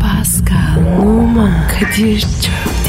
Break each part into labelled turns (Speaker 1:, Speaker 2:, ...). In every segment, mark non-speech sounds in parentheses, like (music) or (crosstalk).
Speaker 1: Pascal, Oman, Kadir çok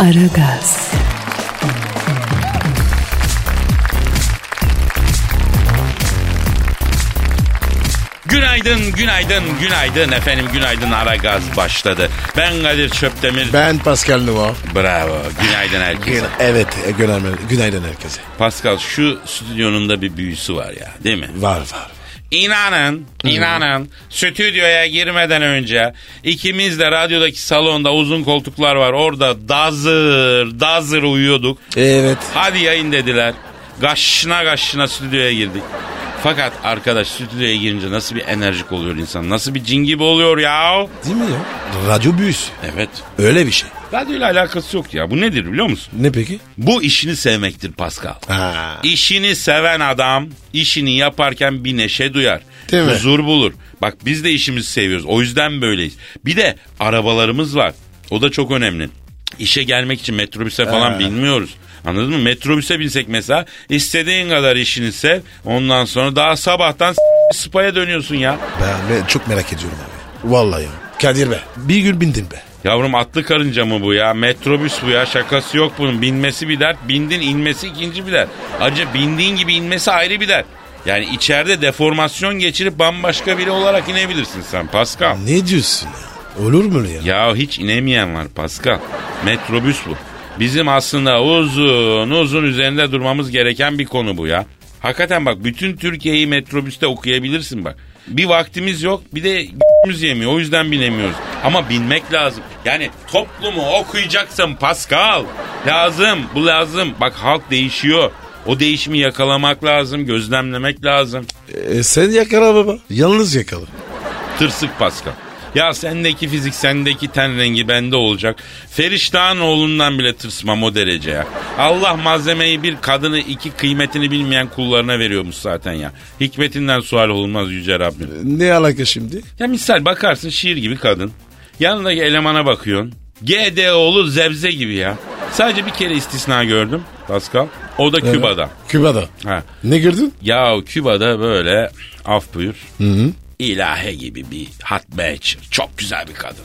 Speaker 1: Aragaz,
Speaker 2: Günaydın, günaydın, günaydın efendim. Günaydın Ara Gaz başladı. Ben Kadir Çöptemir.
Speaker 3: Ben Pascal Numa.
Speaker 2: Bravo. Günaydın herkese.
Speaker 3: Evet, e, günaydın, günaydın herkese.
Speaker 2: Pascal şu stüdyonun da bir büyüsü var ya değil mi?
Speaker 3: Var var.
Speaker 2: İnanın, inanın stüdyoya girmeden önce ikimiz de radyodaki salonda uzun koltuklar var. Orada dazır, dazır uyuyorduk.
Speaker 3: Evet.
Speaker 2: Hadi yayın dediler. Gaşına gaşına stüdyoya girdik. Fakat arkadaş stüdyoya girince nasıl bir enerjik oluyor insan? Nasıl bir cin gibi oluyor ya?
Speaker 3: Değil mi ya? Radyo büyüsü.
Speaker 2: Evet.
Speaker 3: Öyle bir şey.
Speaker 2: Radyoyla alakası yok ya. Bu nedir biliyor musun?
Speaker 3: Ne peki?
Speaker 2: Bu işini sevmektir Pascal.
Speaker 3: Ha.
Speaker 2: İşini seven adam işini yaparken bir neşe duyar.
Speaker 3: Değil mi?
Speaker 2: Huzur bulur. Bak biz de işimizi seviyoruz. O yüzden böyleyiz. Bir de arabalarımız var. O da çok önemli. İşe gelmek için metrobüse falan binmiyoruz. Anladın mı? Metrobüse binsek mesela istediğin kadar işini sev. Ondan sonra daha sabahtan s- spaya dönüyorsun ya.
Speaker 3: Ben, ben çok merak ediyorum abi. Vallahi ya. Kadir be. Bir gün bindim be.
Speaker 2: Yavrum atlı karınca mı bu ya? Metrobüs bu ya. Şakası yok bunun. Binmesi bir dert. Bindin inmesi ikinci bir dert. Acı bindiğin gibi inmesi ayrı bir dert. Yani içeride deformasyon geçirip bambaşka biri olarak inebilirsin sen Pascal.
Speaker 3: Ne diyorsun ya? Olur mu öyle ya?
Speaker 2: Ya hiç inemeyen var Pascal. Metrobüs bu. Bizim aslında uzun uzun üzerinde durmamız gereken bir konu bu ya. Hakikaten bak bütün Türkiye'yi metrobüste okuyabilirsin bak. Bir vaktimiz yok bir de (laughs) g***miz yemiyor o yüzden binemiyoruz. Ama binmek lazım. Yani toplumu okuyacaksın Pascal. Lazım bu lazım. Bak halk değişiyor. O değişimi yakalamak lazım, gözlemlemek lazım.
Speaker 3: E, sen yakala baba. Yalnız yakala.
Speaker 2: Tırsık Pascal. Ya sendeki fizik, sendeki ten rengi bende olacak. Feriştah'ın oğlundan bile tırsmam o derece ya. Allah malzemeyi bir kadını iki kıymetini bilmeyen kullarına veriyormuş zaten ya. Hikmetinden sual olunmaz Yüce Rabbim.
Speaker 3: Ne alaka şimdi?
Speaker 2: Ya misal bakarsın şiir gibi kadın. Yanındaki elemana bakıyorsun. GDO'lu zevze gibi ya. Sadece bir kere istisna gördüm Pascal. O da Küba'da.
Speaker 3: Küba'da.
Speaker 2: Ha.
Speaker 3: Ne gördün?
Speaker 2: Ya Küba'da böyle af buyur. İlahi gibi bir hot match. Çok güzel bir kadın.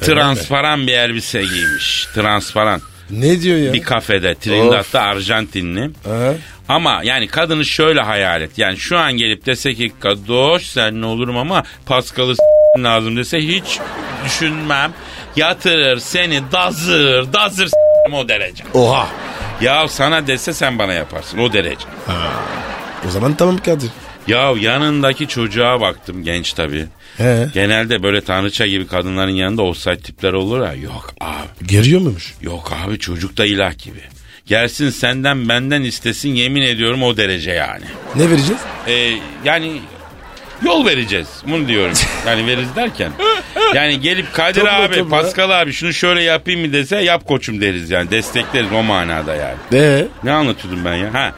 Speaker 2: transparan bir elbise giymiş. Transparan.
Speaker 3: Ne diyor ya?
Speaker 2: Bir kafede Trinidad'da Arjantinli.
Speaker 3: Aha.
Speaker 2: Ama yani kadını şöyle hayal et. Yani şu an gelip dese ki Kadoş sen ne olurum ama Paskal'ı s- lazım dese hiç düşünmem. Yatırır seni dazır dazır s- o derece.
Speaker 3: Oha.
Speaker 2: Ya sana dese sen bana yaparsın o derece.
Speaker 3: O zaman tamam Kadir.
Speaker 2: Ya yanındaki çocuğa baktım genç tabii.
Speaker 3: He.
Speaker 2: Genelde böyle tanrıça gibi kadınların yanında offside tipler olur ya. Yok abi.
Speaker 3: Geriyor muymuş?
Speaker 2: Yok abi çocuk da ilah gibi. Gelsin senden benden istesin yemin ediyorum o derece yani.
Speaker 3: Ne vereceğiz?
Speaker 2: Ee, yani yol vereceğiz. Bunu diyorum. Yani veririz derken. Yani gelip Kadir
Speaker 3: Tabii,
Speaker 2: abi,
Speaker 3: tabii.
Speaker 2: Pascal abi şunu şöyle yapayım mı dese yap koçum deriz yani. Destekleriz o manada yani.
Speaker 3: De.
Speaker 2: Ne anlatıyordum ben ya? Ha.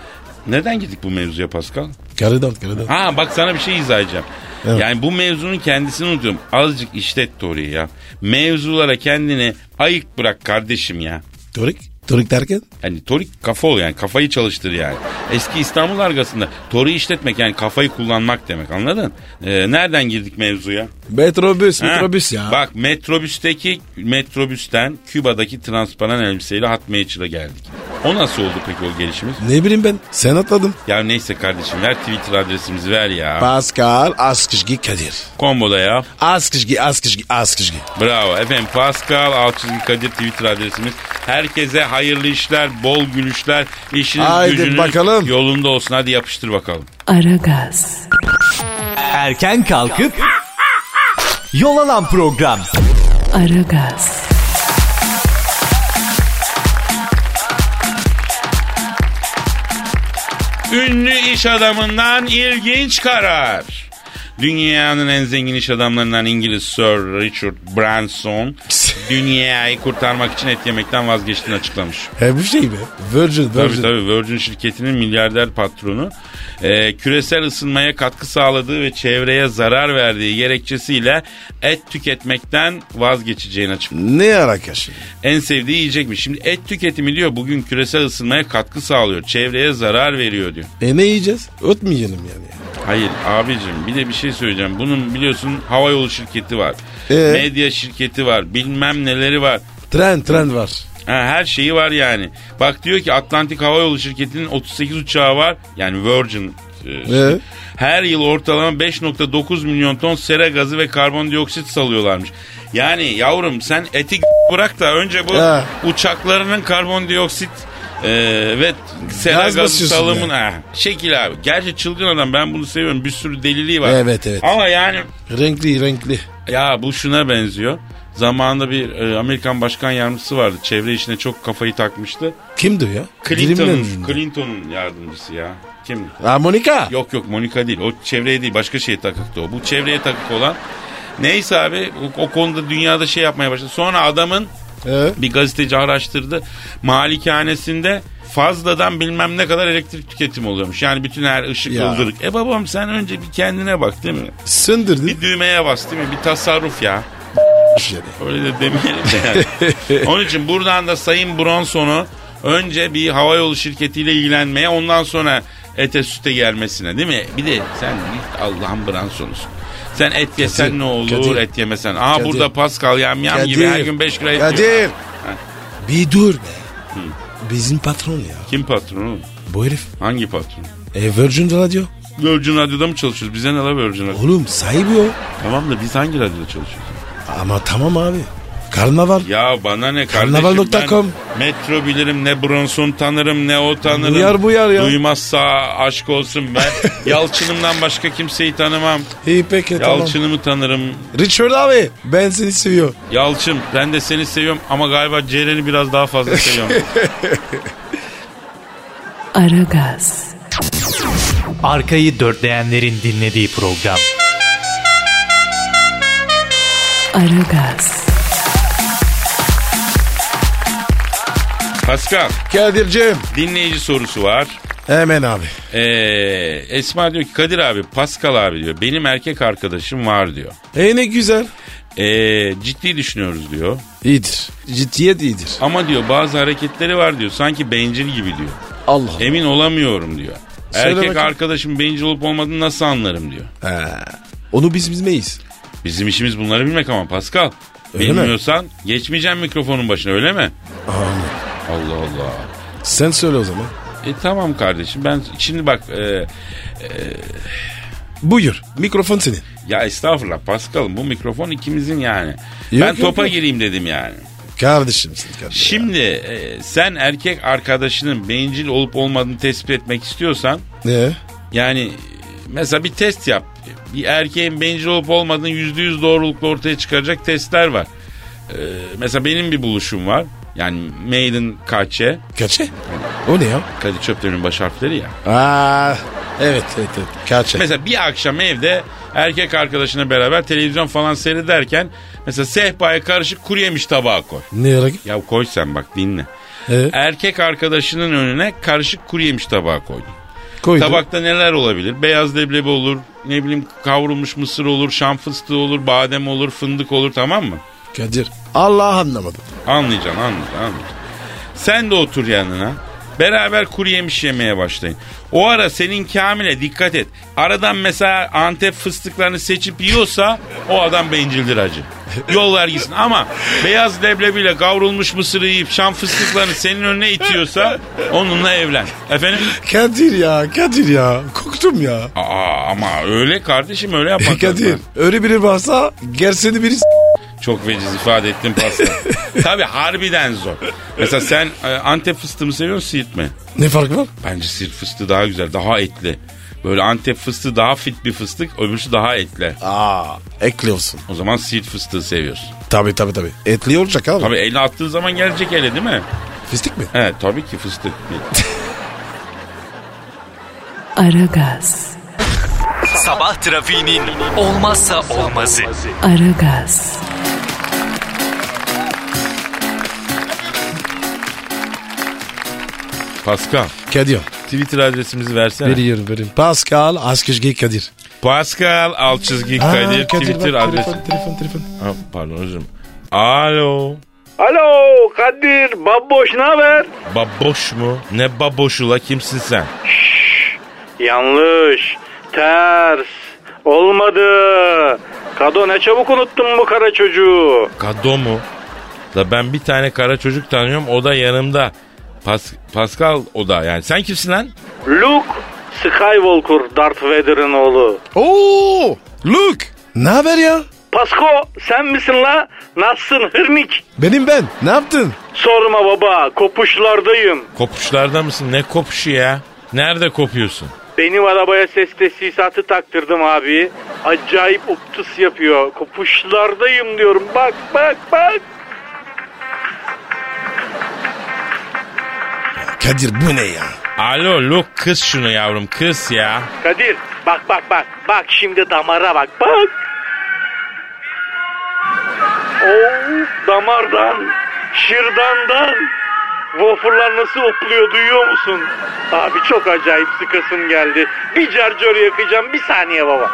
Speaker 2: Neden girdik bu mevzuya Pascal?
Speaker 3: Karıdan karıdan.
Speaker 2: Ha bak sana bir şey izah edeceğim.
Speaker 3: Evet.
Speaker 2: Yani bu mevzunun kendisini unutuyorum. Azıcık işlet Tori'yi ya. Mevzulara kendini ayık bırak kardeşim ya.
Speaker 3: Torik. Torik derken?
Speaker 2: Yani Torik kafa ol yani kafayı çalıştır yani. Eski İstanbul argasında Tori işletmek yani kafayı kullanmak demek anladın? Ee, nereden girdik mevzuya?
Speaker 3: Metrobüs,
Speaker 2: Ha?
Speaker 3: metrobüs ya.
Speaker 2: Bak metrobüsteki metrobüsten Küba'daki transparan elbiseyle Hatmage'la geldik. O nasıl oldu peki o gelişimiz?
Speaker 3: Ne bileyim ben. Sen atladın.
Speaker 2: Ya neyse kardeşim ver Twitter adresimizi ver ya.
Speaker 3: Pascal Askışgi Kadir.
Speaker 2: Komboda ya.
Speaker 3: Askışgi, Askışgi, Askışgi.
Speaker 2: Bravo. Efendim Pascal Alçızgı Kadir Twitter adresimiz. Herkese hayırlı işler, bol gülüşler, işiniz
Speaker 3: Haydi
Speaker 2: gücünüz
Speaker 3: bakalım.
Speaker 2: yolunda olsun. Hadi yapıştır bakalım.
Speaker 1: Aragaz,
Speaker 4: Erken kalkıp yol alan program.
Speaker 1: Aragaz,
Speaker 2: Ünlü iş adamından ilginç karar. Dünyanın en zengin iş adamlarından İngiliz Sir Richard
Speaker 3: (laughs)
Speaker 2: Branson dünyayı kurtarmak için et yemekten vazgeçtiğini açıklamış.
Speaker 3: E bu şey mi? Virgin,
Speaker 2: Tabii
Speaker 3: Virgin.
Speaker 2: tabii Virgin şirketinin milyarder patronu e, küresel ısınmaya katkı sağladığı ve çevreye zarar verdiği gerekçesiyle et tüketmekten vazgeçeceğini açıklamış.
Speaker 3: Ne alaka şimdi?
Speaker 2: En sevdiği yiyecekmiş. Şimdi et tüketimi diyor bugün küresel ısınmaya katkı sağlıyor. Çevreye zarar veriyor diyor.
Speaker 3: E ne yiyeceğiz? Öt mü yiyelim yani?
Speaker 2: Hayır abicim bir de bir şey söyleyeceğim. Bunun biliyorsun havayolu şirketi var.
Speaker 3: Ee?
Speaker 2: Medya şirketi var. Bilmem neleri var.
Speaker 3: Tren, tren var.
Speaker 2: Ha, her şeyi var yani. Bak diyor ki Atlantik Havayolu Şirketi'nin 38 uçağı var. Yani Virgin e,
Speaker 3: Ee?
Speaker 2: her yıl ortalama 5.9 milyon ton sera gazı ve karbondioksit salıyorlarmış. Yani yavrum sen eti bırak da önce bu
Speaker 3: Ha.
Speaker 2: uçaklarının karbondioksit e, ve sera
Speaker 3: Gaz
Speaker 2: gazı
Speaker 3: basıyorsun
Speaker 2: salımına Ha, şekil abi. Gerçi çılgın adam ben bunu seviyorum. Bir sürü deliliği var.
Speaker 3: Evet, evet.
Speaker 2: Ama yani
Speaker 3: Renkli, renkli.
Speaker 2: ya bu şuna benziyor. Zamanında bir e, Amerikan başkan yardımcısı vardı. Çevre işine çok kafayı takmıştı.
Speaker 3: Kimdi o ya?
Speaker 2: Clinton'ın
Speaker 3: Dilimle-
Speaker 2: Clinton'un yardımcısı ya. Kim?
Speaker 3: Ha Monika.
Speaker 2: Yok yok Monica değil. O çevreye değil başka şeye takıktı o. Bu çevreye takık olan. Neyse abi o, o konuda dünyada şey yapmaya başladı. Sonra adamın
Speaker 3: Ee?
Speaker 2: bir gazeteci araştırdı. Malikanesinde fazladan bilmem ne kadar elektrik tüketimi oluyormuş. Yani bütün her ışık
Speaker 3: Ya.
Speaker 2: ıldırık. E babam sen önce bir kendine bak değil mi?
Speaker 3: Söndürdü.
Speaker 2: Bir düğmeye bas değil mi? Bir tasarruf ya.
Speaker 3: Yani.
Speaker 2: Öyle de demeyelim de
Speaker 3: (laughs)
Speaker 2: yani. Onun için buradan da Sayın Bronson'u önce bir havayolu şirketiyle ilgilenmeye ondan sonra ete süte gelmesine değil mi? Bir de sen git Allah'ın Bronson'usun. Sen et yesen
Speaker 3: Kadir,
Speaker 2: ne olur
Speaker 3: Kadir.
Speaker 2: et yemesen. Aa
Speaker 3: Kadir.
Speaker 2: burada Pascal yam yam gibi her gün 5 lira et yiyor.
Speaker 3: Kadir. Bir dur be. Bizim patron ya.
Speaker 2: Kim patronu? oğlum?
Speaker 3: Bu herif.
Speaker 2: Hangi patron?
Speaker 3: E, Virgin Radio.
Speaker 2: Virgin Radyo'da mı çalışıyoruz? Bize ne la Virgin Radyo?
Speaker 3: Oğlum sahibi o.
Speaker 2: Tamam da biz hangi radyoda çalışıyoruz?
Speaker 3: Ama tamam abi. Karnaval.
Speaker 2: Ya bana ne kardeşim
Speaker 3: Karnaval.com.
Speaker 2: ben metro bilirim ne Bronson tanırım ne o tanırım.
Speaker 3: Uyar bu yar ya.
Speaker 2: Duymazsa aşk olsun
Speaker 3: (laughs)
Speaker 2: ben Yalçın'ımdan başka kimseyi tanımam.
Speaker 3: İyi peki E, tamam.
Speaker 2: Yalçın'ımı tanırım.
Speaker 3: Richard abi ben seni seviyorum.
Speaker 2: Yalçın ben de seni seviyorum ama galiba Ceren'i biraz daha fazla seviyorum.
Speaker 3: (laughs)
Speaker 1: Aragaz,
Speaker 4: Arkayı dörtleyenlerin dinlediği program.
Speaker 1: Aragaz,
Speaker 2: Pascal
Speaker 3: Kadir'cim.
Speaker 2: dinleyici sorusu var.
Speaker 3: Hemen abi.
Speaker 2: Ee, Esma diyor ki Kadir abi Pascal abi diyor benim erkek arkadaşım var diyor.
Speaker 3: E ne güzel.
Speaker 2: Ee, ciddi düşünüyoruz diyor.
Speaker 3: İyidir. Ciddiyet iyidir.
Speaker 2: Ama diyor bazı hareketleri var diyor sanki bencil gibi diyor.
Speaker 3: Allah.
Speaker 2: Emin olamıyorum diyor.
Speaker 3: Söyle
Speaker 2: Erkek
Speaker 3: bakayım.
Speaker 2: arkadaşım bencil olup olmadığını nasıl anlarım diyor.
Speaker 3: Ha. Onu biz bizmeyiz.
Speaker 2: Bizim işimiz bunları bilmek ama Pascal.
Speaker 3: Öyle mi?
Speaker 2: bilmiyorsan geçmeyeceğim mikrofonun başına öyle mi?
Speaker 3: Aman.
Speaker 2: Allah Allah.
Speaker 3: Sen söyle o zaman.
Speaker 2: E tamam kardeşim ben şimdi bak e,
Speaker 3: Buyur. Mikrofon senin.
Speaker 2: ya estağfurullah Pascal bu mikrofon ikimizin yani.
Speaker 3: Yok,
Speaker 2: ben
Speaker 3: yok,
Speaker 2: topa
Speaker 3: yok.
Speaker 2: gireyim dedim yani.
Speaker 3: Kardeşimsin kardeşim.
Speaker 2: Şimdi e, sen erkek arkadaşının bencil olup olmadığını tespit etmek istiyorsan
Speaker 3: Ne?
Speaker 2: Yani e, mesela bir test yap. Bir erkeğin bencil olup olmadığını yüzde yüz doğrulukla ortaya çıkaracak testler var. Ee, mesela benim bir buluşum var. Yani mailin kaçe.
Speaker 3: Kaçe? O ne ya?
Speaker 2: Kadir Çöpler'in baş harfleri ya.
Speaker 3: Aa, evet evet evet. Kaçe.
Speaker 2: Mesela bir akşam evde erkek arkadaşına beraber televizyon falan seyrederken mesela sehpaya karışık kuru yemiş tabağa koy.
Speaker 3: Ne yarak?
Speaker 2: Ya koy sen bak dinle.
Speaker 3: Ee?
Speaker 2: Erkek arkadaşının önüne karışık kuru yemiş tabağa koydun.
Speaker 3: Koydum.
Speaker 2: Tabakta neler olabilir? Beyaz leblebi olur, ne bileyim kavrulmuş mısır olur, şam fıstığı olur, badem olur, fındık olur tamam mı?
Speaker 3: Kadir. Allah anlamadım.
Speaker 2: Anlayacaksın, anlayacaksın, anlayacaksın. Sen de otur yanına. Beraber kuru yemiş yemeye başlayın. O ara senin Kamil'e dikkat et. Aradan mesela Antep fıstıklarını seçip yiyorsa o adam bencildir hacı. Yol vergisin ama beyaz leblebiyle kavrulmuş mısırı yiyip şam fıstıklarını senin önüne itiyorsa onunla evlen. Efendim?
Speaker 3: Kadir ya Kadir ya. Korktum ya.
Speaker 2: Aa ama öyle kardeşim öyle yapmak
Speaker 3: Kadir
Speaker 2: lazım.
Speaker 3: öyle biri varsa gerisini biri s-
Speaker 2: Çok veciz ifade ettin pasta.
Speaker 3: (laughs)
Speaker 2: Tabii harbiden zor. Mesela sen e, Antep fıstığı mı seviyorsun siirt mi?
Speaker 3: Ne farkı var?
Speaker 2: Bence siirt fıstığı daha güzel daha etli. Böyle Antep fıstığı daha fit bir fıstık öbürsü daha etli.
Speaker 3: Aa ekli olsun.
Speaker 2: O zaman siirt fıstığı seviyorsun.
Speaker 3: Tabi tabi tabi. Etli olacak abi.
Speaker 2: Tabii elle attığın zaman gelecek ele değil mi?
Speaker 3: Fistik mi?
Speaker 2: He tabii ki fıstık.
Speaker 1: Aragaz,
Speaker 4: Sabah trafiğinin olmazsa olmazı.
Speaker 1: Aragaz,
Speaker 2: Pascal.
Speaker 3: Kadir.
Speaker 2: Twitter adresimizi versene.
Speaker 3: Veriyorum veriyorum. Pascal Askışgi Kadir.
Speaker 2: Pascal alt çizgi
Speaker 3: Aa,
Speaker 2: Kadir
Speaker 3: bak,
Speaker 2: Twitter adresi.
Speaker 3: Telefon telefon telefon.
Speaker 2: Ha, pardon özür dilerim. Alo.
Speaker 5: Alo Kadir Babboş ne haber?
Speaker 2: Baboş mu? Ne baboşu la kimsin sen?
Speaker 5: Yanlış. Ters. Olmadı. Kado ne çabuk unuttun bu kara çocuğu.
Speaker 2: Kado mu? La ben bir tane kara çocuk tanıyorum o da yanımda. Pas- Pascal o da yani. Sen kimsin lan?
Speaker 5: Luke Skywalker Darth Vader'ın oğlu.
Speaker 3: Oo! Luke! Ne haber ya?
Speaker 5: Pasko sen misin la? Nasılsın hırnik?
Speaker 3: Benim ben. Ne yaptın?
Speaker 5: Sorma baba kopuşlardayım.
Speaker 2: Kopuşlarda mısın? Ne kopuşu ya? Nerede kopuyorsun?
Speaker 5: Benim arabaya ses tesisatı taktırdım abi. Acayip optus yapıyor. Kopuşlardayım diyorum. Bak bak bak.
Speaker 3: Kadir bu ne ya?
Speaker 2: Alo Luke kız şunu yavrum kız ya.
Speaker 5: Kadir bak bak bak bak şimdi damara bak bak. Oo Oh, damardan, şırdandan. Waferlar nasıl opluyor duyuyor musun? Abi çok acayip sıkasım geldi. Bir carcör yakacağım bir saniye baba.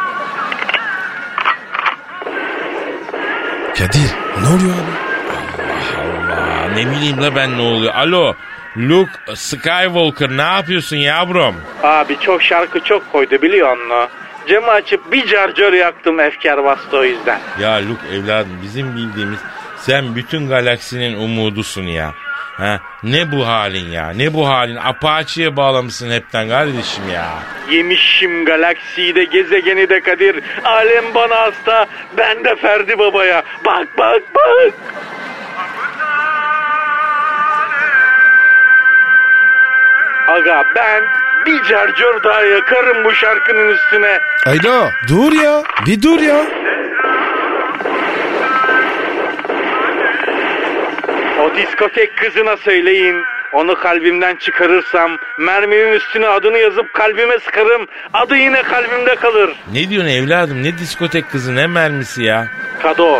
Speaker 3: Kadir ne oluyor abi?
Speaker 2: Allah ne bileyim la ben ne oluyor. Alo Luke Skywalker ne yapıyorsun yavrum?
Speaker 5: Abi çok şarkı çok koydu biliyor musun? Camı açıp bir carcör yaktım efkar bastı o yüzden.
Speaker 2: Ya Luke evladım bizim bildiğimiz sen bütün galaksinin umudusun ya. Ha, ne bu halin ya? Ne bu halin? Apache'ye bağlamışsın hepten kardeşim ya.
Speaker 5: Yemişim galaksiyi de gezegeni de Kadir. Alem bana hasta, ben de Ferdi Baba'ya. Bak bak bak. Aga ben bir carcör daha yakarım bu şarkının üstüne.
Speaker 3: Ayda dur ya. Bir dur ya.
Speaker 5: O diskotek kızına söyleyin. Onu kalbimden çıkarırsam mermimin üstüne adını yazıp kalbime sıkarım. Adı yine kalbimde kalır.
Speaker 2: Ne diyorsun evladım? Ne diskotek kızı ne mermisi ya?
Speaker 5: Kado,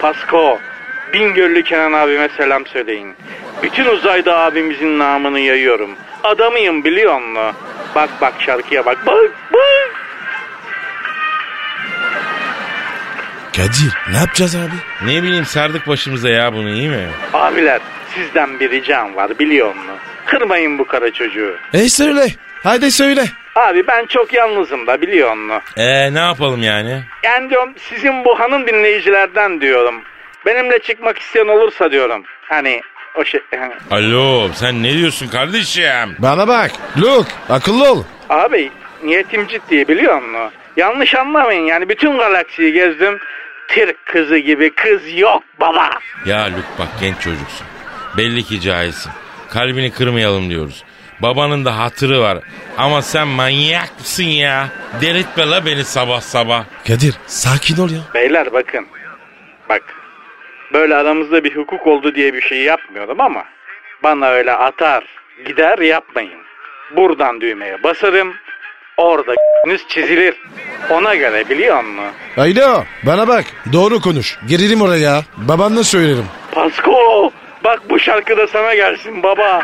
Speaker 5: Pasko, Bingöllü Kenan abime selam söyleyin. Bütün uzayda abimizin namını yayıyorum. Adamıyım biliyor musun? Bak bak şarkıya bak. Bak bak.
Speaker 3: Kadir ne yapacağız abi?
Speaker 2: Ne bileyim sardık başımıza ya bunu iyi mi?
Speaker 5: Abiler sizden bir ricam var biliyor musun? Kırmayın bu kara çocuğu.
Speaker 3: Ey söyle. Haydi söyle.
Speaker 5: Abi ben çok yalnızım da biliyor musun?
Speaker 2: Ee ne yapalım yani?
Speaker 5: Yani diyorum sizin bu hanım dinleyicilerden diyorum. Benimle çıkmak isteyen olursa diyorum. Hani o şey... (laughs)
Speaker 2: Alo sen ne diyorsun kardeşim?
Speaker 3: Bana bak. Luke akıllı ol.
Speaker 5: Abi niyetim ciddi biliyor musun? Yanlış anlamayın yani bütün galaksiyi gezdim. Türk kızı gibi kız yok baba.
Speaker 2: Ya Luke bak genç çocuksun. Belli ki cahilsin. Kalbini kırmayalım diyoruz. Babanın da hatırı var. Ama sen manyak mısın ya? Delirtme la beni sabah sabah.
Speaker 3: Kadir sakin ol ya.
Speaker 5: Beyler bakın. Bak. Böyle aramızda bir hukuk oldu diye bir şey yapmıyorum ama bana öyle atar gider yapmayın. Buradan düğmeye basarım. Orada (laughs) çizilir. Ona göre biliyor musun?
Speaker 3: Ayda bana bak. Doğru konuş. Gelirim oraya. Babanla söylerim.
Speaker 5: Pasko! Bak bu şarkı da sana gelsin baba.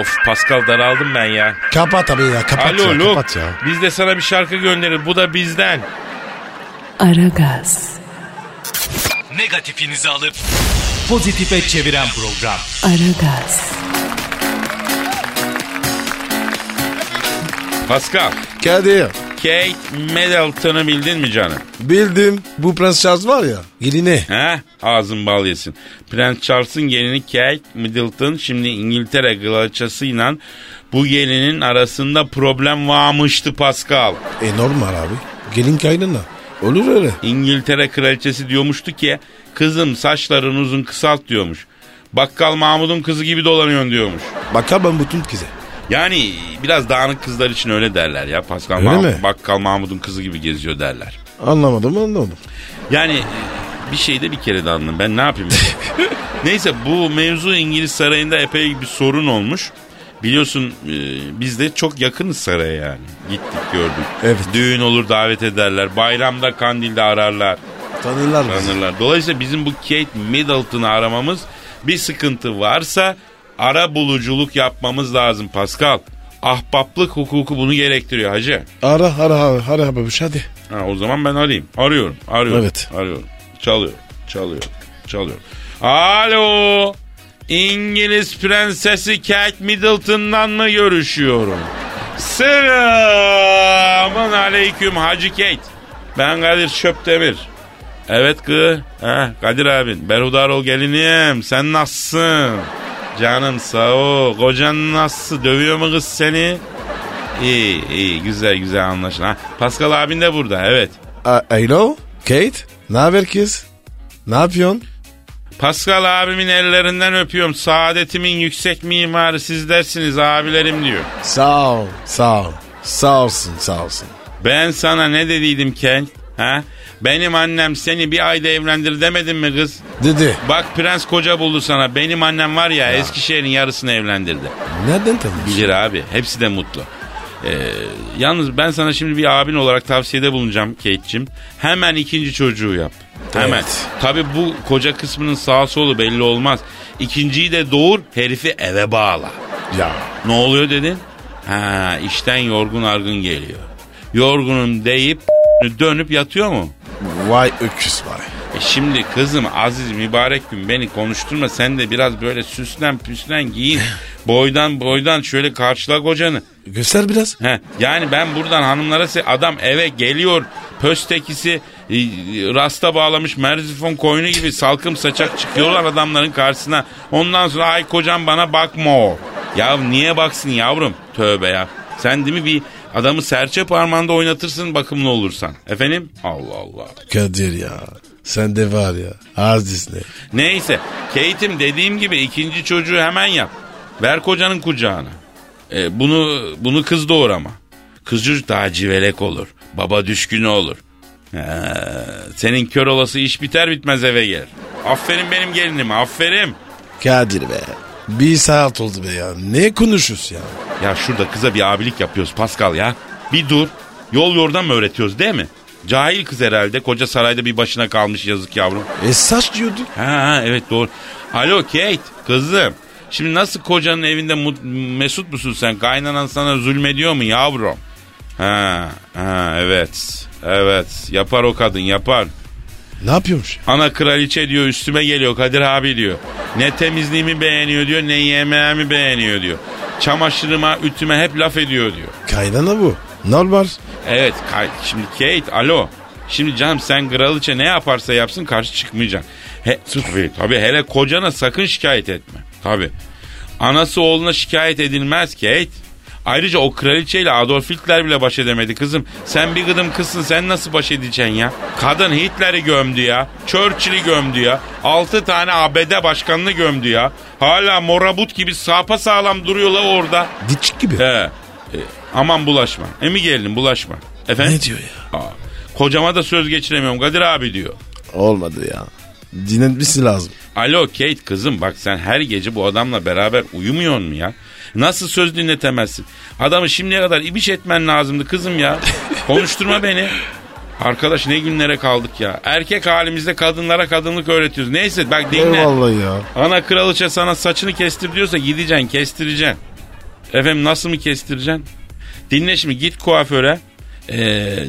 Speaker 2: Of Pascal daraldım ben ya.
Speaker 3: Kapat abi ya. Kapat
Speaker 2: Alo
Speaker 3: ya.
Speaker 2: Luke
Speaker 3: Kapat ya.
Speaker 2: biz de sana bir şarkı gönderir. Bu da bizden.
Speaker 1: Aragaz,
Speaker 4: Negatifinizi alıp pozitife çeviren program.
Speaker 1: Aragaz,
Speaker 2: Pascal,
Speaker 3: Kadir
Speaker 2: Kate Middleton'ı bildin mi canım?
Speaker 3: bildim. Bu Prens Charles var ya. Geline.
Speaker 2: He? Ağzın bal yesin. Prens Charles'ın gelini Kate Middleton şimdi İngiltere kraliçesiyle bu gelinin arasında problem varmıştı Pascal.
Speaker 3: E normal abi. Gelin kaynana. Olur öyle.
Speaker 2: İngiltere kraliçesi diyormuştu ki kızım saçların uzun kısalt diyormuş. Bakkal Mahmud'un kızı gibi dolanıyorsun diyormuş.
Speaker 3: Bakar ben bütün kıza.
Speaker 2: Yani biraz dağınık kızlar için öyle derler ya. Pascal
Speaker 3: Öyle
Speaker 2: Mahmud,
Speaker 3: mi?
Speaker 2: Bakkal Mahmud'un kızı gibi geziyor derler.
Speaker 3: Anlamadım anlamadım.
Speaker 2: Yani bir şeyde bir kere de anladım. Ben ne yapayım? Neyse bu mevzu İngiliz sarayında epey bir sorun olmuş. Biliyorsun e, biz de çok yakınız saraya yani. Gittik gördük.
Speaker 3: Evet.
Speaker 2: Düğün olur davet ederler. Bayramda kandilde ararlar.
Speaker 3: Tanırlar bizi.
Speaker 2: Tanırlar. Dolayısıyla bizim bu Kate Middleton'ı aramamız bir sıkıntı varsa ara buluculuk yapmamız lazım Pascal. Ahbaplık hukuku bunu gerektiriyor hacı.
Speaker 3: Ara ara ara ara babuş hadi.
Speaker 2: Ha, o zaman ben arayayım. Arıyorum, arıyorum.
Speaker 3: Evet.
Speaker 2: Arıyorum. Çalıyor, çalıyor, çalıyor. Alo. İngiliz prensesi Kate Middleton'dan mı görüşüyorum? Selamun aleyküm Hacı Kate. Ben Kadir Şöpdemir. Evet kı. Heh, Kadir abin. Berhudar ol gelinim. Sen nasılsın? Canım sağ ol. Kocan nasıl? Dövüyor mu kız seni? İyi iyi güzel güzel anlaşılan. Ha, Pascal abin de burada evet.
Speaker 3: A- Alo Kate ne haber kız? Ne yapıyorsun?
Speaker 2: Pascal abimin ellerinden öpüyorum. Saadetimin yüksek mimarı siz dersiniz abilerim diyor.
Speaker 3: Sağ ol sağ ol. Sağ olsun sağ olsun.
Speaker 2: Ben sana ne dediydim Ken? Ha? Benim annem seni bir ayda evlendir demedim mi kız?
Speaker 3: Dedi
Speaker 2: Bak prens koca buldu sana. Benim annem var ya, Eskişehir'in yarısını evlendirdi.
Speaker 3: nereden tanıyorsun?
Speaker 2: Bilir abi. Hepsi de mutlu. Ee, yalnız ben sana şimdi bir abin olarak tavsiyede bulunacağım Kate'cim. Hemen ikinci çocuğu yap. Hemen.
Speaker 3: Evet.
Speaker 2: Tabii bu koca kısmının sağ solu belli olmaz. İkinciyi de doğur, herifi eve bağla.
Speaker 3: Ya
Speaker 2: Ne oluyor dedin? Ha, işten yorgun argın geliyor. Yorgunum deyip (laughs) dönüp yatıyor mu?
Speaker 3: vay öküz vay.
Speaker 2: E şimdi kızım aziz mübarek gün beni konuşturma sen de biraz böyle süslen püslen giyin. boydan boydan şöyle karşıla kocanı.
Speaker 3: Göster biraz.
Speaker 2: He, yani ben buradan hanımlara se- adam eve geliyor pöstekisi e, e, rasta bağlamış merzifon koyunu gibi salkım saçak çıkıyorlar adamların karşısına. Ondan sonra ay kocam bana bakma o. Ya niye baksın yavrum? Tövbe ya. Sen değil mi bir adamı serçe parmağında oynatırsın bakımlı olursan. Efendim? Allah Allah.
Speaker 3: Kadir ya sen de var ya aziz ne?
Speaker 2: Neyse. Kate'im dediğim gibi ikinci çocuğu hemen yap. Ver kocanın kucağına. E, bunu bunu kız doğur ama. Kız çocuk daha civelek olur. Baba düşkünü olur. Ha, senin kör olası iş biter bitmez eve gelir. Aferin benim gelinim aferin.
Speaker 3: Kadir be. Bir saat oldu be ya. Ne konuşuyorsun ya?
Speaker 2: Ya şurada kıza bir abilik yapıyoruz Pascal ya. Bir dur. Yol yordan mı öğretiyoruz değil mi? Cahil kız herhalde. Koca sarayda bir başına kalmış yazık yavrum.
Speaker 3: E saç diyorduk.
Speaker 2: Ha, ha evet doğru. Alo Kate kızım. Şimdi nasıl kocanın evinde mut- mesut musun sen? Kaynanan sana zulmediyor mu yavrum? Ha, ha evet. Evet yapar o kadın yapar.
Speaker 3: Ne yapıyormuş?
Speaker 2: Ana kraliçe diyor üstüme geliyor Kadir abi diyor. Ne temizliğimi beğeniyor diyor ne yemeğimi beğeniyor diyor. Çamaşırıma ütüme hep laf ediyor diyor.
Speaker 3: Kaynana bu. Normal.
Speaker 2: Evet kay- şimdi Kate alo. Şimdi canım sen kraliçe ne yaparsa yapsın karşı çıkmayacaksın. He, tabii, tabii hele kocana sakın şikayet etme. Tabii. Anası oğluna şikayet edilmez Kate. Ayrıca o kraliçeyle Adolf Hitler bile baş edemedi kızım. Sen bir gıdım kızsın sen nasıl baş edeceksin ya? Kadın Hitler'i gömdü ya. Churchill'i gömdü ya. Altı tane ABD başkanını gömdü ya. Hala morabut gibi sapa sağlam duruyorlar orada.
Speaker 3: Dipçik gibi.
Speaker 2: He. E, aman bulaşma. Emi gelin bulaşma. Efendim?
Speaker 3: Ne diyor ya?
Speaker 2: Aa, kocama da söz geçiremiyorum Kadir abi diyor.
Speaker 3: Olmadı ya. Dinlenmesi lazım.
Speaker 2: Alo Kate kızım bak sen her gece bu adamla beraber uyumuyor mu ya? Nasıl söz dinletemezsin? Adamı şimdiye kadar ibiş etmen lazımdı
Speaker 3: (laughs)
Speaker 2: kızım ya. Konuşturma beni. Arkadaş ne günlere kaldık ya. Erkek halimizde kadınlara kadınlık öğretiyoruz. Neyse bak dinle.
Speaker 3: Eyvallah ya.
Speaker 2: Ana kraliçe sana saçını kestir diyorsa gideceksin kestireceksin. Efendim nasıl mı kestireceksin? Dinle şimdi git kuaföre. Ee,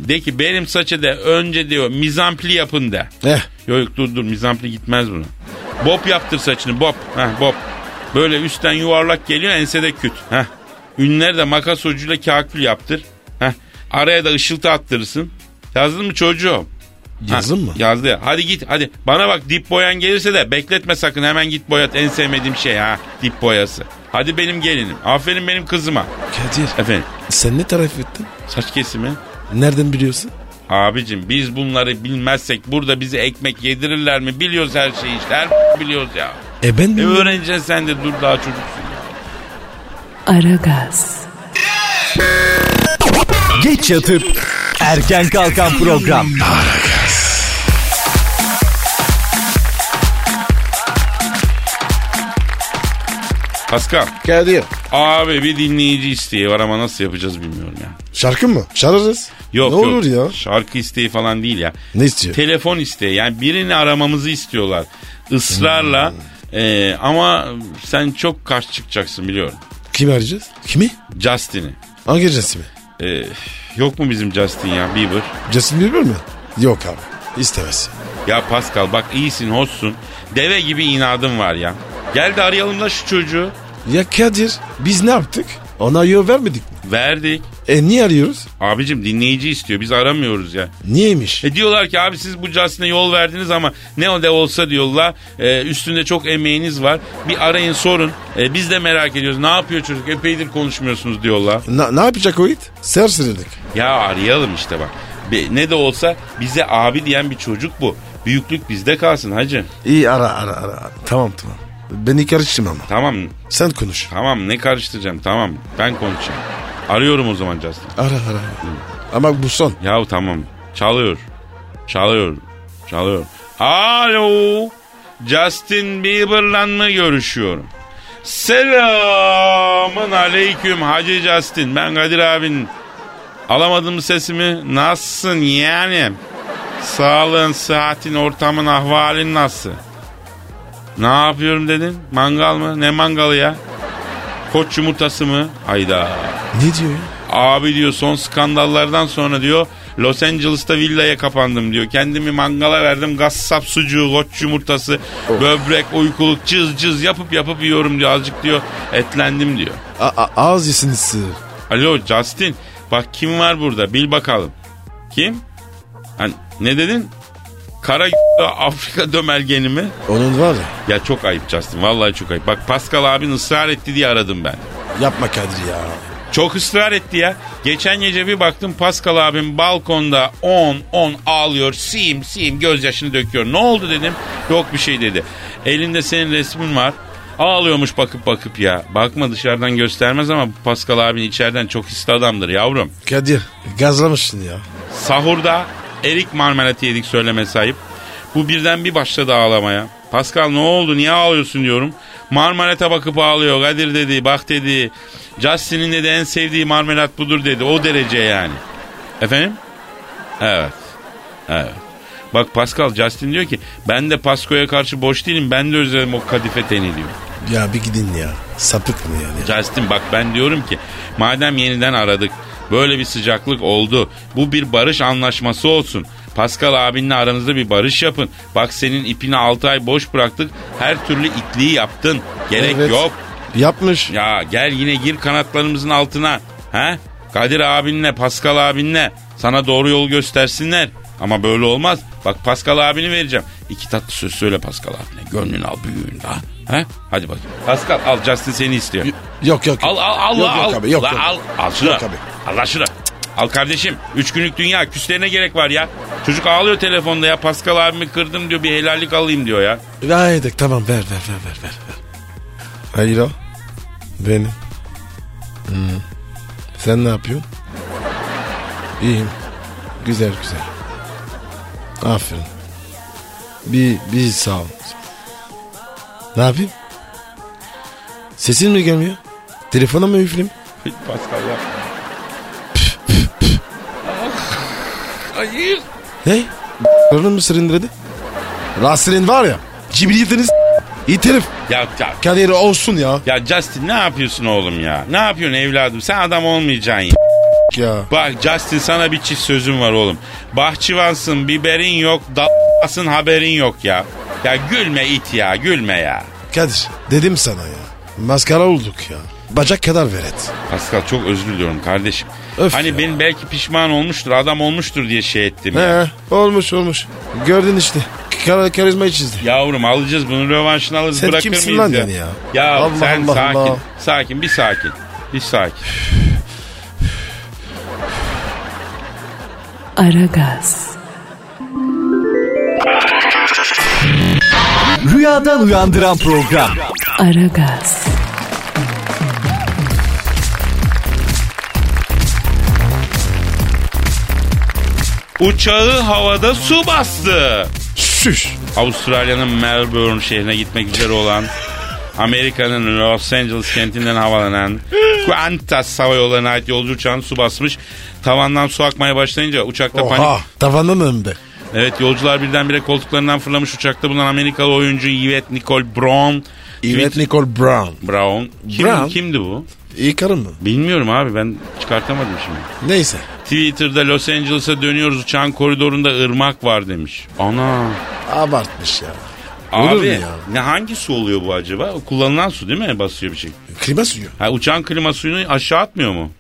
Speaker 2: de ki benim saçı da önce diyor mizampli yapın de.
Speaker 3: Eh.
Speaker 2: Yok yok dur dur mizampli gitmez buna. Bob yaptır saçını bob. Heh, bob. Böyle üstten yuvarlak geliyor ensede küt. Heh. Ünleri de makas ucuyla kakül yaptır. Heh. Araya da ışıltı attırırsın. Yazdın mı çocuğum?
Speaker 3: Yazın
Speaker 2: Ha,
Speaker 3: mı?
Speaker 2: Yazdı. Hadi git hadi. Bana bak dip boyan gelirse de bekletme sakın hemen git boyat. En sevmediğim şey ha dip boyası. Hadi benim gelinim. Aferin benim kızıma.
Speaker 3: Kadir
Speaker 2: Efendim
Speaker 3: sen ne tarif ettin?
Speaker 2: saç kesimi.
Speaker 3: Nereden biliyorsun?
Speaker 2: Abicim biz bunları bilmezsek burada bize ekmek yedirirler mi? Biliyoruz her şeyi işte. Her (laughs) biliyoruz ya.
Speaker 3: E ben
Speaker 2: E
Speaker 3: mi?
Speaker 2: öğreneceksin sen de dur daha çocuksun.
Speaker 1: Aragaz,
Speaker 4: Geç yatıp erken kalkan program.
Speaker 2: Pascal
Speaker 3: Kadir.
Speaker 2: abi bir dinleyici isteği var ama nasıl yapacağız bilmiyorum ya.
Speaker 3: Şarkı mı? Çağırırız.
Speaker 2: Yok
Speaker 3: ne
Speaker 2: yok.
Speaker 3: olur ya?
Speaker 2: Şarkı isteği falan değil ya.
Speaker 3: Ne istiyor?
Speaker 2: Telefon isteği yani birini aramamızı istiyorlar. Israrla Ee, ama sen çok karşı çıkacaksın biliyorum.
Speaker 3: Kimi arayacağız? Kimi?
Speaker 2: Justin'i.
Speaker 3: Hangi cinsi mi?
Speaker 2: Ee, yok mu bizim Justin ya Bieber?
Speaker 3: Justin Bieber mi? Yok abi. İstemez.
Speaker 2: Ya Pascal bak iyisin hoşsun. Deve gibi inadın var ya. Gel de arayalım da şu çocuğu.
Speaker 3: Ya Kadir biz ne yaptık? Ona yol vermedik mi?
Speaker 2: Verdik.
Speaker 3: E niye arıyoruz?
Speaker 2: Abicim dinleyici istiyor biz aramıyoruz ya.
Speaker 3: Niyeymiş?
Speaker 2: E diyorlar ki abi siz bu Justin'e yol verdiniz ama ne o de olsa diyorlar. e, üstünde çok emeğiniz var. Bir arayın sorun. E, biz de merak ediyoruz. Ne yapıyor çocuk? Epeydir konuşmuyorsunuz diyorlar.
Speaker 3: Na- ne yapacak o it? Serserilik.
Speaker 2: Ya arayalım işte bak. Be- ne de olsa bize abi diyen bir çocuk bu. Büyüklük bizde kalsın hacı.
Speaker 3: İyi ara ara ara. Tamam tamam. Beni karıştırma ama.
Speaker 2: Tamam
Speaker 3: Sen konuş.
Speaker 2: tamam ne karıştıracağım tamam ben konuşacağım. Arıyorum o zaman Justin.
Speaker 3: Ara ara. Ama bu son.
Speaker 2: Yahu tamam. Çalıyor. Çalıyor. Çalıyor. Alo. Justin Bieber'la mı görüşüyorum? Selamın aleyküm Hacı Justin. Ben Kadir abin. Alamadım sesimi. Nasılsın yani? Sağlığın, sıhhatin, ortamın, ahvalin nasıl? Ne yapıyorum dedin? Mangal mı? Ne mangalı ya? Koç yumurtası mı? Hayda.
Speaker 3: Ne diyor ya?
Speaker 2: Abi diyor son skandallardan sonra diyor Los Angeles'ta villaya kapandım diyor. Kendimi mangala verdim. Gassap sucuğu, koç yumurtası, böbrek, uykuluk, cız cız yapıp yapıp yiyorum diyor. Azıcık diyor etlendim diyor.
Speaker 3: A- a- ağız yesin sığır.
Speaker 2: Alo Justin bak kim var burada bil bakalım. Kim? Ha, ne dedin? Kara Afrika dömergeni mi?
Speaker 3: Onun var ya.
Speaker 2: Ya çok ayıp Justin vallahi çok ayıp. Bak Pascal abin ısrar etti diye aradım ben.
Speaker 3: Yapma Kadir ya.
Speaker 2: Çok ısrar etti ya. Geçen gece bir baktım Pascal abim balkonda 10-10 ağlıyor. Sim sim gözyaşını döküyor. Ne oldu dedim. Yok bir şey dedi. Elinde senin resmin var. Ağlıyormuş bakıp bakıp ya. Bakma dışarıdan göstermez ama Pascal abin içeriden çok hisli adamdır yavrum.
Speaker 3: Kadir gazlamışsın ya.
Speaker 2: Sahurda erik marmelatı yedik söyleme sahip. Bu birden bir başladı ağlamaya. Pascal ne oldu niye ağlıyorsun diyorum. Marmelata bakıp ağlıyor. Kadir dedi bak dedi. Justin'in dedi en sevdiği marmelat budur dedi. O derece yani. Efendim? Evet. Evet. Bak Pascal Justin diyor ki ben de Pasco'ya karşı boş değilim. Ben de özledim o kadife teni diyor.
Speaker 3: Ya bir gidin ya. Sapık mı yani?
Speaker 2: Justin bak ben diyorum ki madem yeniden aradık böyle bir sıcaklık oldu. Bu bir barış anlaşması olsun. Pascal abinle aranızda bir barış yapın. Bak senin ipini 6 ay boş bıraktık. Her türlü itliği yaptın. Gerek
Speaker 3: Evet.
Speaker 2: yok.
Speaker 3: Yapmış.
Speaker 2: Ya gel yine gir kanatlarımızın altına. He? Kadir abinle Pascal abinle sana doğru yol göstersinler. Ama böyle olmaz. Bak Pascal abini vereceğim. İki tatlı söz söyle Pascal abine. Gönlünü al büyüğünü daha. He? Hadi bakayım. Pascal al Justin seni istiyor.
Speaker 3: Yok yok.
Speaker 2: Al al al
Speaker 3: Yok,
Speaker 2: al.
Speaker 3: yok abi, yok,
Speaker 2: La,
Speaker 3: yok.
Speaker 2: al. Al şunu.
Speaker 3: Yok abi.
Speaker 2: Al lan şunu. Al kardeşim. Üç günlük dünya. Küslerine gerek var ya. Çocuk ağlıyor telefonda ya. Pascal abimi kırdım diyor. Bir helallik alayım diyor ya.
Speaker 3: Haydi tamam ver ver ver ver ver. ver. Hayır o. Benim. Hmm. Sen ne yapıyorsun? İyiyim. Güzel güzel. Aferin. Bir, bir sağ ol. Ne yapayım? Sesin mi gelmiyor? Telefona mı üfleyeyim?
Speaker 2: Pascal ya. Hayır.
Speaker 3: Ne? Karnın mı sırındırdı? Rastlerin var ya. Cibriyetiniz. İyi terif.
Speaker 2: Ya, ya,
Speaker 3: Kadir olsun ya.
Speaker 2: ya Justin ne yapıyorsun oğlum ya? Ne yapıyorsun evladım? Sen adam olmayacaksın ya.
Speaker 3: Ya.
Speaker 2: Bak Justin sana bir çift sözüm var oğlum. Bahçıvansın, biberin yok, dalasın haberin yok ya. Ya gülme it ya, gülme ya.
Speaker 3: Kadir dedim sana ya. Maskara olduk ya. Bacak kadar veret.
Speaker 2: Pascal çok özür diliyorum kardeşim.
Speaker 3: Öf
Speaker 2: hani
Speaker 3: ya.
Speaker 2: benim belki pişman olmuştur, adam olmuştur diye şey ettim. ya.
Speaker 3: He olmuş olmuş. Gördün işte. Kar karizmayı çizdi.
Speaker 2: Yavrum alacağız bunu rövanşını alırız
Speaker 3: Sen
Speaker 2: bırakır
Speaker 3: kimsin
Speaker 2: mıyız
Speaker 3: lan
Speaker 2: ya?
Speaker 3: yani ya?
Speaker 2: Ya
Speaker 3: Allah
Speaker 2: sen
Speaker 3: Allah
Speaker 2: sakin,
Speaker 3: Allah.
Speaker 2: sakin bir sakin. Bir sakin.
Speaker 1: Aragaz,
Speaker 4: Rüyadan uyandıran program.
Speaker 1: Aragaz,
Speaker 2: Uçağı havada su bastı.
Speaker 3: Şüş.
Speaker 2: Avustralya'nın Melbourne şehrine gitmek üzere olan Amerika'nın Los Angeles kentinden havalanan Qantas hava yollarına ait yolcu uçağının su basmış. Tavandan su akmaya başlayınca uçakta panik.
Speaker 3: Oha tavanın önünde.
Speaker 2: Evet yolcular birdenbire koltuklarından fırlamış uçakta bulunan Amerikalı oyuncu Yvette Nicole Brown.
Speaker 3: Evet
Speaker 2: Tweet-
Speaker 3: Nicole Brown.
Speaker 2: Brown. Kim,
Speaker 3: Brown.
Speaker 2: Kimdi bu?
Speaker 3: İyi karı mı?
Speaker 2: Bilmiyorum abi ben çıkartamadım şimdi.
Speaker 3: Neyse.
Speaker 2: Twitter'da Los Angeles'a dönüyoruz uçağın koridorunda ırmak var demiş. Ana.
Speaker 3: Abartmış ya. Olur mu
Speaker 2: Abi
Speaker 3: ya?
Speaker 2: ne hangi su oluyor bu acaba? Kullanılan su değil mi? Basıyor bir şey.
Speaker 3: Klima suyu.
Speaker 2: Ha, uçağın klima suyunu aşağı atmıyor mu?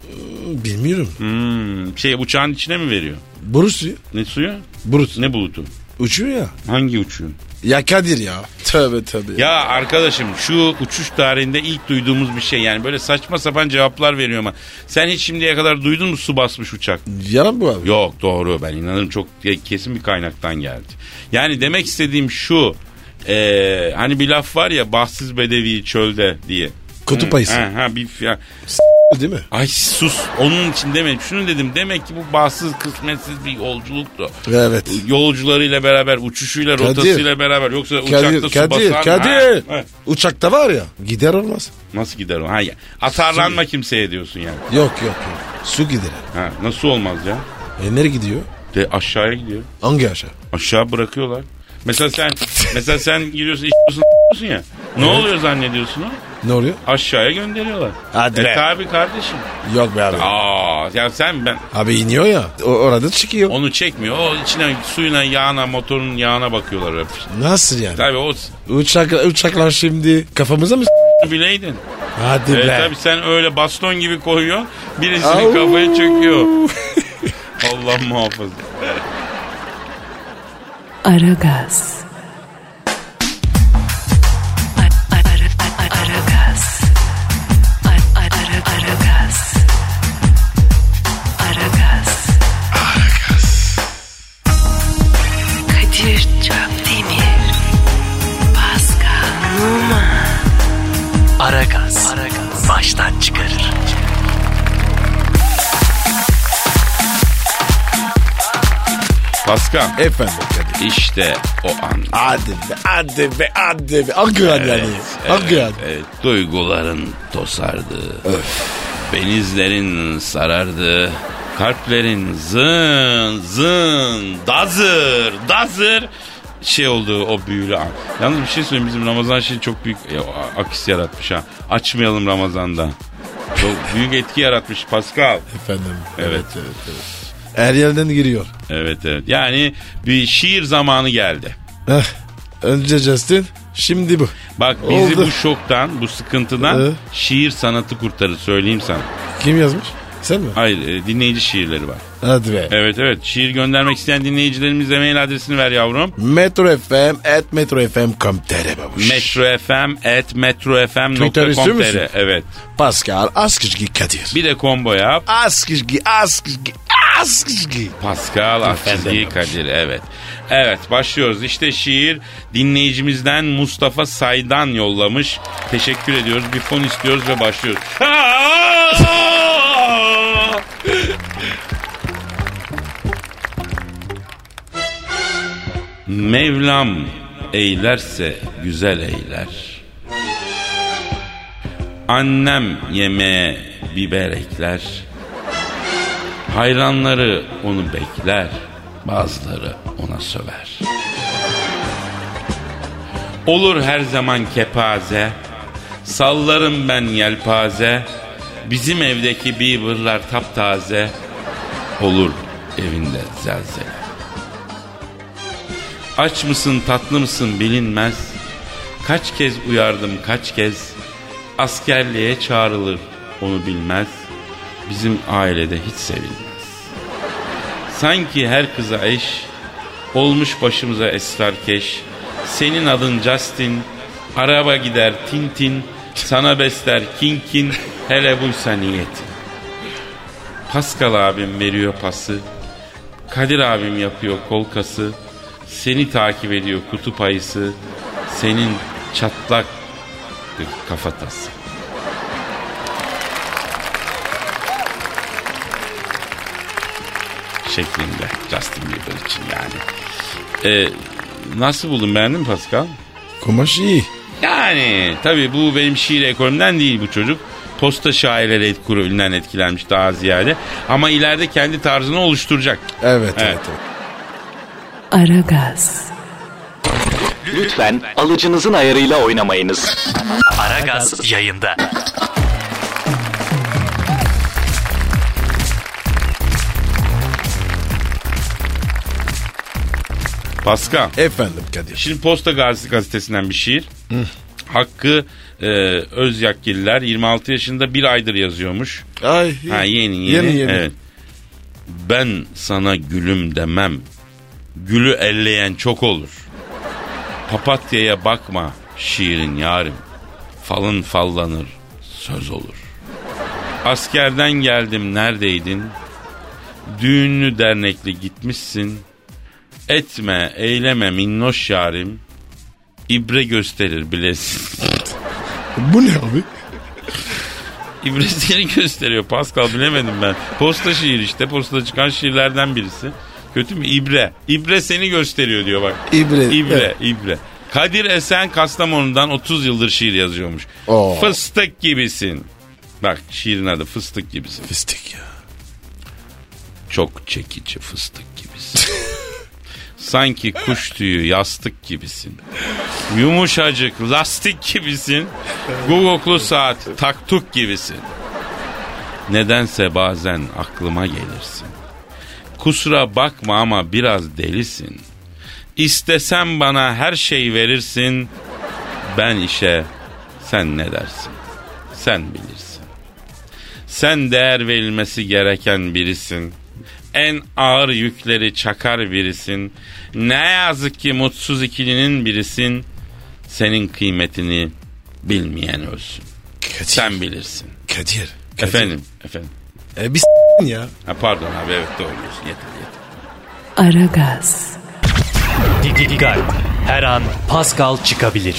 Speaker 3: Bilmiyorum.
Speaker 2: Hmm, şey uçağın içine mi veriyor?
Speaker 3: Boru suyu.
Speaker 2: Ne suyu?
Speaker 3: Burut.
Speaker 2: Ne bulutu?
Speaker 3: Uçuyor ya.
Speaker 2: Hangi uçuyor?
Speaker 3: Ya Kadir ya. Tövbe tövbe.
Speaker 2: Ya arkadaşım şu uçuş tarihinde ilk duyduğumuz bir şey yani böyle saçma sapan cevaplar veriyor ama sen hiç şimdiye kadar duydun mu su basmış uçak?
Speaker 3: Yalan bu abi.
Speaker 2: Yok doğru ben inanırım çok ke- kesin bir kaynaktan geldi. Yani demek istediğim şu e, hani bir laf var ya bahtsız bedevi çölde diye.
Speaker 3: Kutup
Speaker 2: Hı,
Speaker 3: ayısı.
Speaker 2: Ha, ha, bir, ya,
Speaker 3: Değil mi?
Speaker 2: ay sus onun için demedim şunu dedim demek ki bu bahtsız kısmetsiz bir yolculuktu.
Speaker 3: Evet.
Speaker 2: Yolcularıyla beraber uçuşuyla
Speaker 3: Kadir.
Speaker 2: rotasıyla beraber yoksa uçakta
Speaker 3: Kadir,
Speaker 2: su
Speaker 3: Kadir,
Speaker 2: basan-
Speaker 3: Kadir.
Speaker 2: Ha, ha.
Speaker 3: Uçakta var ya. Gider olmaz.
Speaker 2: Nasıl gider o? Ha, ya- atarlanma kimseye diyorsun yani.
Speaker 3: Yok yok yok. Su gider.
Speaker 2: Ha, nasıl olmaz ya?
Speaker 3: E nereye gidiyor?
Speaker 2: De aşağıya gidiyor.
Speaker 3: Hangi aşağı?
Speaker 2: Aşağı bırakıyorlar. Mesela sen mesela sen giriyorsun içiyorsun ya. Ne oluyor zannediyorsun o?
Speaker 3: Ne oluyor?
Speaker 2: Aşağıya gönderiyorlar.
Speaker 3: Hadi
Speaker 2: e
Speaker 3: be.
Speaker 2: tabi kardeşim.
Speaker 3: Yok be abi.
Speaker 2: Aa ya sen ben
Speaker 3: Abi iniyor ya. O, orada çıkıyor.
Speaker 2: onu çekmiyor. O içine suyuna yağına motorun yağına bakıyorlar. hep.
Speaker 3: Nasıl yani?
Speaker 2: Tabi o
Speaker 3: Uçak, uçaklar şimdi kafamıza mı s-
Speaker 2: bileydin.
Speaker 3: Hadi
Speaker 2: E,
Speaker 3: be.
Speaker 2: tabi sen öyle baston gibi koyuyor. Birisinin
Speaker 3: Au.
Speaker 2: kafayı çöküyor. (laughs) Allah muhafaza.
Speaker 1: Aragaz. Aragaz. Aragaz. Aragaz. Kadir Çöptemir. Pascal Numa.
Speaker 4: Aragaz. Baştan çıkarır.
Speaker 2: Pascal
Speaker 3: Efendim Kadir.
Speaker 2: işte o an.
Speaker 3: Hadi be, hadi be, hadi be. Hangi an yani? Hangi an?
Speaker 2: evet. Duyguların tosardı. Benizlerin sarardı. Kalplerin zın zın dazır dazır şey oldu o büyülü an. Yalnız bir şey söyleyeyim bizim Ramazan şey çok büyük e, a- akis yaratmış ha. Açmayalım Ramazan'da. Çok büyük etki yaratmış Pascal.
Speaker 3: Efendim.
Speaker 2: Evet.
Speaker 3: evet, evet. Her yerden giriyor.
Speaker 2: Evet evet. Yani bir şiir zamanı geldi.
Speaker 3: Heh. Önce Justin, şimdi bu.
Speaker 2: Bak bizi
Speaker 3: Oldu.
Speaker 2: bu şoktan, bu sıkıntıdan
Speaker 3: Ee?
Speaker 2: şiir sanatı kurtarır söyleyeyim sana.
Speaker 3: Kim yazmış? Sen mi?
Speaker 2: Hayır e, dinleyici şiirleri var.
Speaker 3: Hadi be.
Speaker 2: Evet evet şiir göndermek isteyen dinleyicilerimize mail adresini ver yavrum.
Speaker 3: Metro FM at Metro FM babuş.
Speaker 2: metrofm at
Speaker 3: Twitter istiyor musun?
Speaker 2: metrofm.com.tr Evet.
Speaker 3: Pascal Askışgi Kadir.
Speaker 2: Bir de combo yap.
Speaker 3: Askışgi, Askışgi, Askışgi.
Speaker 2: Pascal Askizgi Kadir evet. Evet başlıyoruz. İşte şiir dinleyicimizden Mustafa Saydan yollamış. Teşekkür ediyoruz. Bir fon istiyoruz ve başlıyoruz. (laughs) Mevlam eylerse güzel eyler. Annem yemeğe biber ekler. Hayranları onu bekler, bazıları ona söver. Olur her zaman kepaze, sallarım ben yelpaze, bizim evdeki Bieber'lar taptaze, olur evinde zelzele. Aç mısın tatlı mısın bilinmez, kaç kez uyardım kaç kez, askerliğe çağrılır onu bilmez.'' bizim ailede hiç sevilmez. Sanki her kıza eş, olmuş başımıza esrarkeş, senin adın Justin, araba gider Tintin, sana besler Kinkin, hele buysa niyetin. Pascal abim veriyor pası, Kadir abim yapıyor kolkası, seni takip ediyor kutup ayısı, senin çatlak kafatası. şeklinde Justin Bieber için yani. Ee, nasıl buldun beğendin mi Pascal?
Speaker 3: Kumaş iyi.
Speaker 2: Yani tabii bu benim şiir ekolümden değil bu çocuk. Posta şairleri et- kurulundan etkilenmiş daha ziyade. Ama ileride kendi tarzını oluşturacak.
Speaker 3: Evet, evet,
Speaker 2: Evet.
Speaker 3: evet.
Speaker 1: Aragaz,
Speaker 4: Lütfen alıcınızın ayarıyla oynamayınız. Aragaz yayında.
Speaker 2: Pascal.
Speaker 3: Efendim Kadir.
Speaker 2: Şimdi Posta Gaz- gazetesinden bir şiir. Hakkı e, Özyakgiller 26 yaşında bir aydır yazıyormuş.
Speaker 3: Ay,
Speaker 2: Ha yeni yeni.
Speaker 3: Yeni, yeni.
Speaker 2: Evet. Ben sana gülüm demem. Gülü elleyen çok olur. Papatya'ya bakma şiirin yarım. Falın fallanır söz olur. Askerden geldim neredeydin? Düğünlü dernekli gitmişsin. Etme eyleme minnoş yarim. İbre gösterir bilesin.
Speaker 3: Bu ne abi?
Speaker 2: İbresini (laughs) gösteriyor Pascal bilemedim ben. Posta şiir işte posta çıkan şiirlerden birisi. Kötü mü? İbre. İbre seni gösteriyor diyor bak.
Speaker 3: İbre,
Speaker 2: İbre.
Speaker 3: evet.
Speaker 2: İbre. Kadir Esen Kastamonu'dan 30 yıldır şiir yazıyormuş.
Speaker 3: Oo.
Speaker 2: Fıstık gibisin. Bak şiirin adı fıstık gibisin.
Speaker 3: Fistik ya.
Speaker 2: Çok çekici fıstık gibisin. Sanki kuş tüyü yastık gibisin. Yumuşacık lastik gibisin. Guguklu saat taktuk gibisin. Nedense bazen aklıma gelirsin. Kusura bakma ama biraz delisin. İstesem bana her şey verirsin. Ben işe sen ne dersin? Sen bilirsin. Sen değer verilmesi gereken birisin. En ağır yükleri çakar birisin. Ne yazık ki mutsuz ikilinin birisin. Senin kıymetini bilmeyen ölsün.
Speaker 3: Kadir.
Speaker 2: Sen bilirsin.
Speaker 3: Kadir. Kadir.
Speaker 2: Efendim, efendim.
Speaker 3: E, bir ya.
Speaker 2: Ha, pardon abi evet doğru diyorsun. Yeter yeter.
Speaker 1: Aragaz,
Speaker 4: Dikkat. Her an Pascal çıkabilir.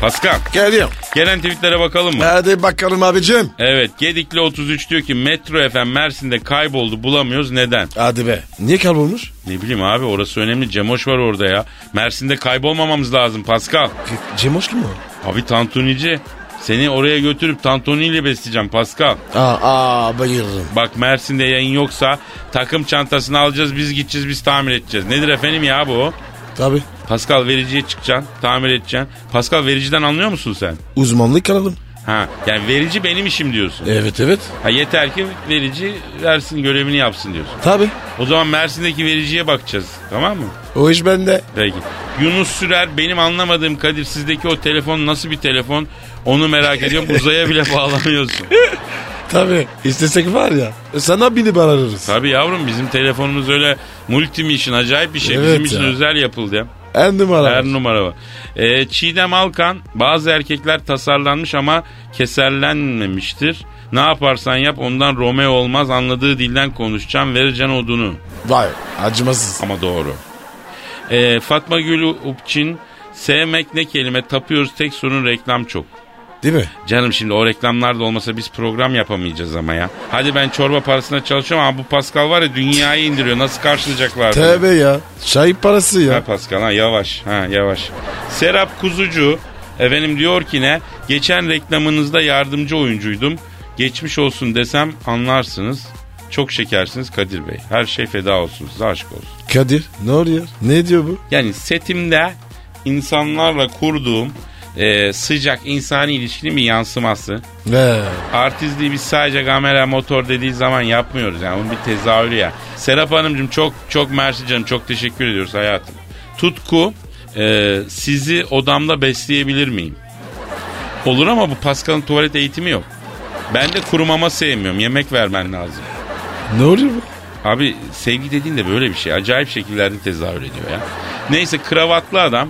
Speaker 2: Pascal,
Speaker 3: Geliyorum.
Speaker 2: gelen tweetlere bakalım mı?
Speaker 3: Hadi bakalım abicim.
Speaker 2: Evet, Gedikli 33 diyor ki Metro FM Mersin'de kayboldu bulamıyoruz neden?
Speaker 3: Hadi be. Niye kaybolmuş?
Speaker 2: Ne bileyim abi orası önemli. Cemoş var orada ya. Mersin'de kaybolmamamız lazım Pascal.
Speaker 3: Cem Hoşlu mu?
Speaker 2: Abi tantunici. Seni oraya götürüp tantuniyle besleyeceğim Pascal.
Speaker 3: Aa, aa bayılırım.
Speaker 2: Bak Mersin'de yayın yoksa takım çantasını alacağız biz gideceğiz biz tamir edeceğiz. Nedir efendim ya bu?
Speaker 3: Tabi.
Speaker 2: Pascal vericiye çıkacaksın tamir edeceksin. Pascal vericiden anlıyor musun sen?
Speaker 3: Uzmanlık alalım.
Speaker 2: Ha yani verici benim işim diyorsun.
Speaker 3: Evet evet.
Speaker 2: Ha, yeter ki verici versin görevini yapsın diyorsun.
Speaker 3: Tabi.
Speaker 2: O zaman Mersin'deki vericiye bakacağız tamam mı?
Speaker 3: O iş bende.
Speaker 2: Peki. Yunus Sürer benim anlamadığım Kadir sizdeki o telefon nasıl bir telefon onu merak ediyorum. Uzaya bile (laughs) bağlamıyorsun.
Speaker 3: Tabi. İstesek var ya. Sana binip ararız.
Speaker 2: Tabii yavrum bizim telefonumuz öyle multimission acayip bir şey.
Speaker 3: Evet
Speaker 2: bizim
Speaker 3: ya.
Speaker 2: için özel yapıldı ya.
Speaker 3: En numara.
Speaker 2: Her numara var. Ee, Çiğdem Alkan bazı erkekler tasarlanmış ama keserlenmemiştir. Ne yaparsan yap ondan Romeo olmaz anladığı dilden konuşacağım vereceğin odunu.
Speaker 3: Vay acımasız.
Speaker 2: Ama doğru. Ee, Fatma Gül Upçin sevmek ne kelime tapıyoruz tek sorun reklam çok.
Speaker 3: Değil mi?
Speaker 2: Canım şimdi o reklamlar da olmasa biz program yapamayacağız ama ya. Hadi ben çorba parasına çalışıyorum ama bu Pascal var ya dünyayı indiriyor. Nasıl karşılayacaklar? bunu?
Speaker 3: Tövbe ya. Çay parası
Speaker 2: Ha
Speaker 3: ya.
Speaker 2: Pascal ha yavaş ha yavaş. Serap Kuzucu efendim diyor ki ne? Geçen reklamınızda yardımcı oyuncuydum. Geçmiş olsun desem anlarsınız. Çok şekersiniz Kadir Bey. Her şey feda olsun size aşk olsun.
Speaker 3: Kadir ne oluyor? Ne diyor bu?
Speaker 2: Yani setimde insanlarla kurduğum e, sıcak insani ilişkinin bir yansıması.
Speaker 3: Ne?
Speaker 2: Artistliği biz sadece kamera motor dediği zaman yapmıyoruz. Yani bunun bir tezahürü ya. Serap Hanımcığım çok çok mersi canım. Çok teşekkür ediyoruz hayatım. Tutku e, sizi odamda besleyebilir miyim? Olur ama bu Pascal'ın tuvalet eğitimi yok. Ben de kurumama sevmiyorum. Yemek vermen lazım.
Speaker 3: Ne oluyor bu?
Speaker 2: Abi sevgi dediğin de böyle bir şey. Acayip şekillerde tezahür ediyor ya. Neyse kravatlı adam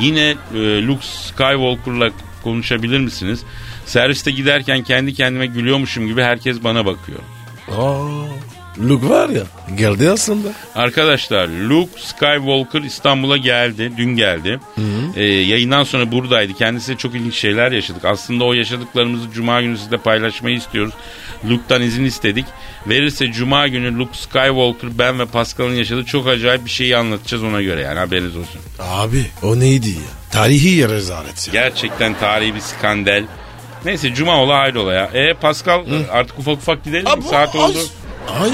Speaker 2: yine e, Luke Skywalker'la konuşabilir misiniz? Serviste giderken kendi kendime gülüyormuşum gibi herkes bana bakıyor.
Speaker 3: Aa, Luke var ya. Geldi aslında.
Speaker 2: Arkadaşlar Luke Skywalker İstanbul'a geldi. Dün geldi. Ee, yayından sonra buradaydı. Kendisiyle çok ilginç şeyler yaşadık. Aslında o yaşadıklarımızı Cuma günü sizle paylaşmayı istiyoruz. Luke'tan izin istedik. Verirse cuma günü Luke Skywalker ben ve Pascal'ın yaşadığı çok acayip bir şeyi anlatacağız ona göre yani haberiniz olsun.
Speaker 3: Abi o neydi ya? Tarihi ya rezalet ya.
Speaker 2: Gerçekten tarihi bir skandal. Neyse cuma ola hayrola ya. E Pascal artık ufak ufak gidelim.
Speaker 3: Abi,
Speaker 2: Saat
Speaker 3: az-
Speaker 2: oldu.
Speaker 3: Ay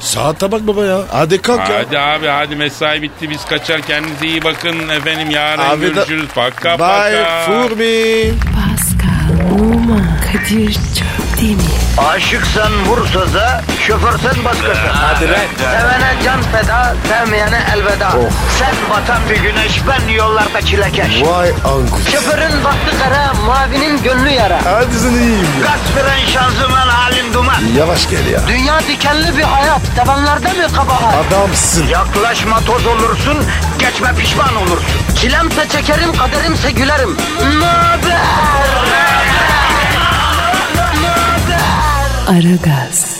Speaker 3: saate bak baba ya. Hadi kalk ya.
Speaker 2: Hadi abi hadi mesai bitti biz kaçar kendinize iyi bakın efendim yarın
Speaker 3: Abi da-
Speaker 2: görüşürüz. Paka
Speaker 3: Bye
Speaker 2: paka.
Speaker 3: Furby.
Speaker 1: Pascal, Oman, Kadir çok değil mi?
Speaker 6: Aşıksan vursa da şoförsen başkasın. Hadi Sevene can feda, sevmeyene elveda. Sen batan bir güneş, ben yollarda çilekeş.
Speaker 3: Vay anku.
Speaker 6: Şoförün baktı kara, mavinin gönlü yara.
Speaker 3: Hadi sen iyiyim ya.
Speaker 6: Kasperen şanzıman halin duman.
Speaker 3: Yavaş gel ya.
Speaker 6: Dünya dikenli bir hayat, sevenlerde mi kabahar?
Speaker 3: Adamsın.
Speaker 6: Yaklaşma toz olursun, geçme pişman olursun. Çilemse çekerim, kaderimse gülerim. Möber!
Speaker 1: Aragaz.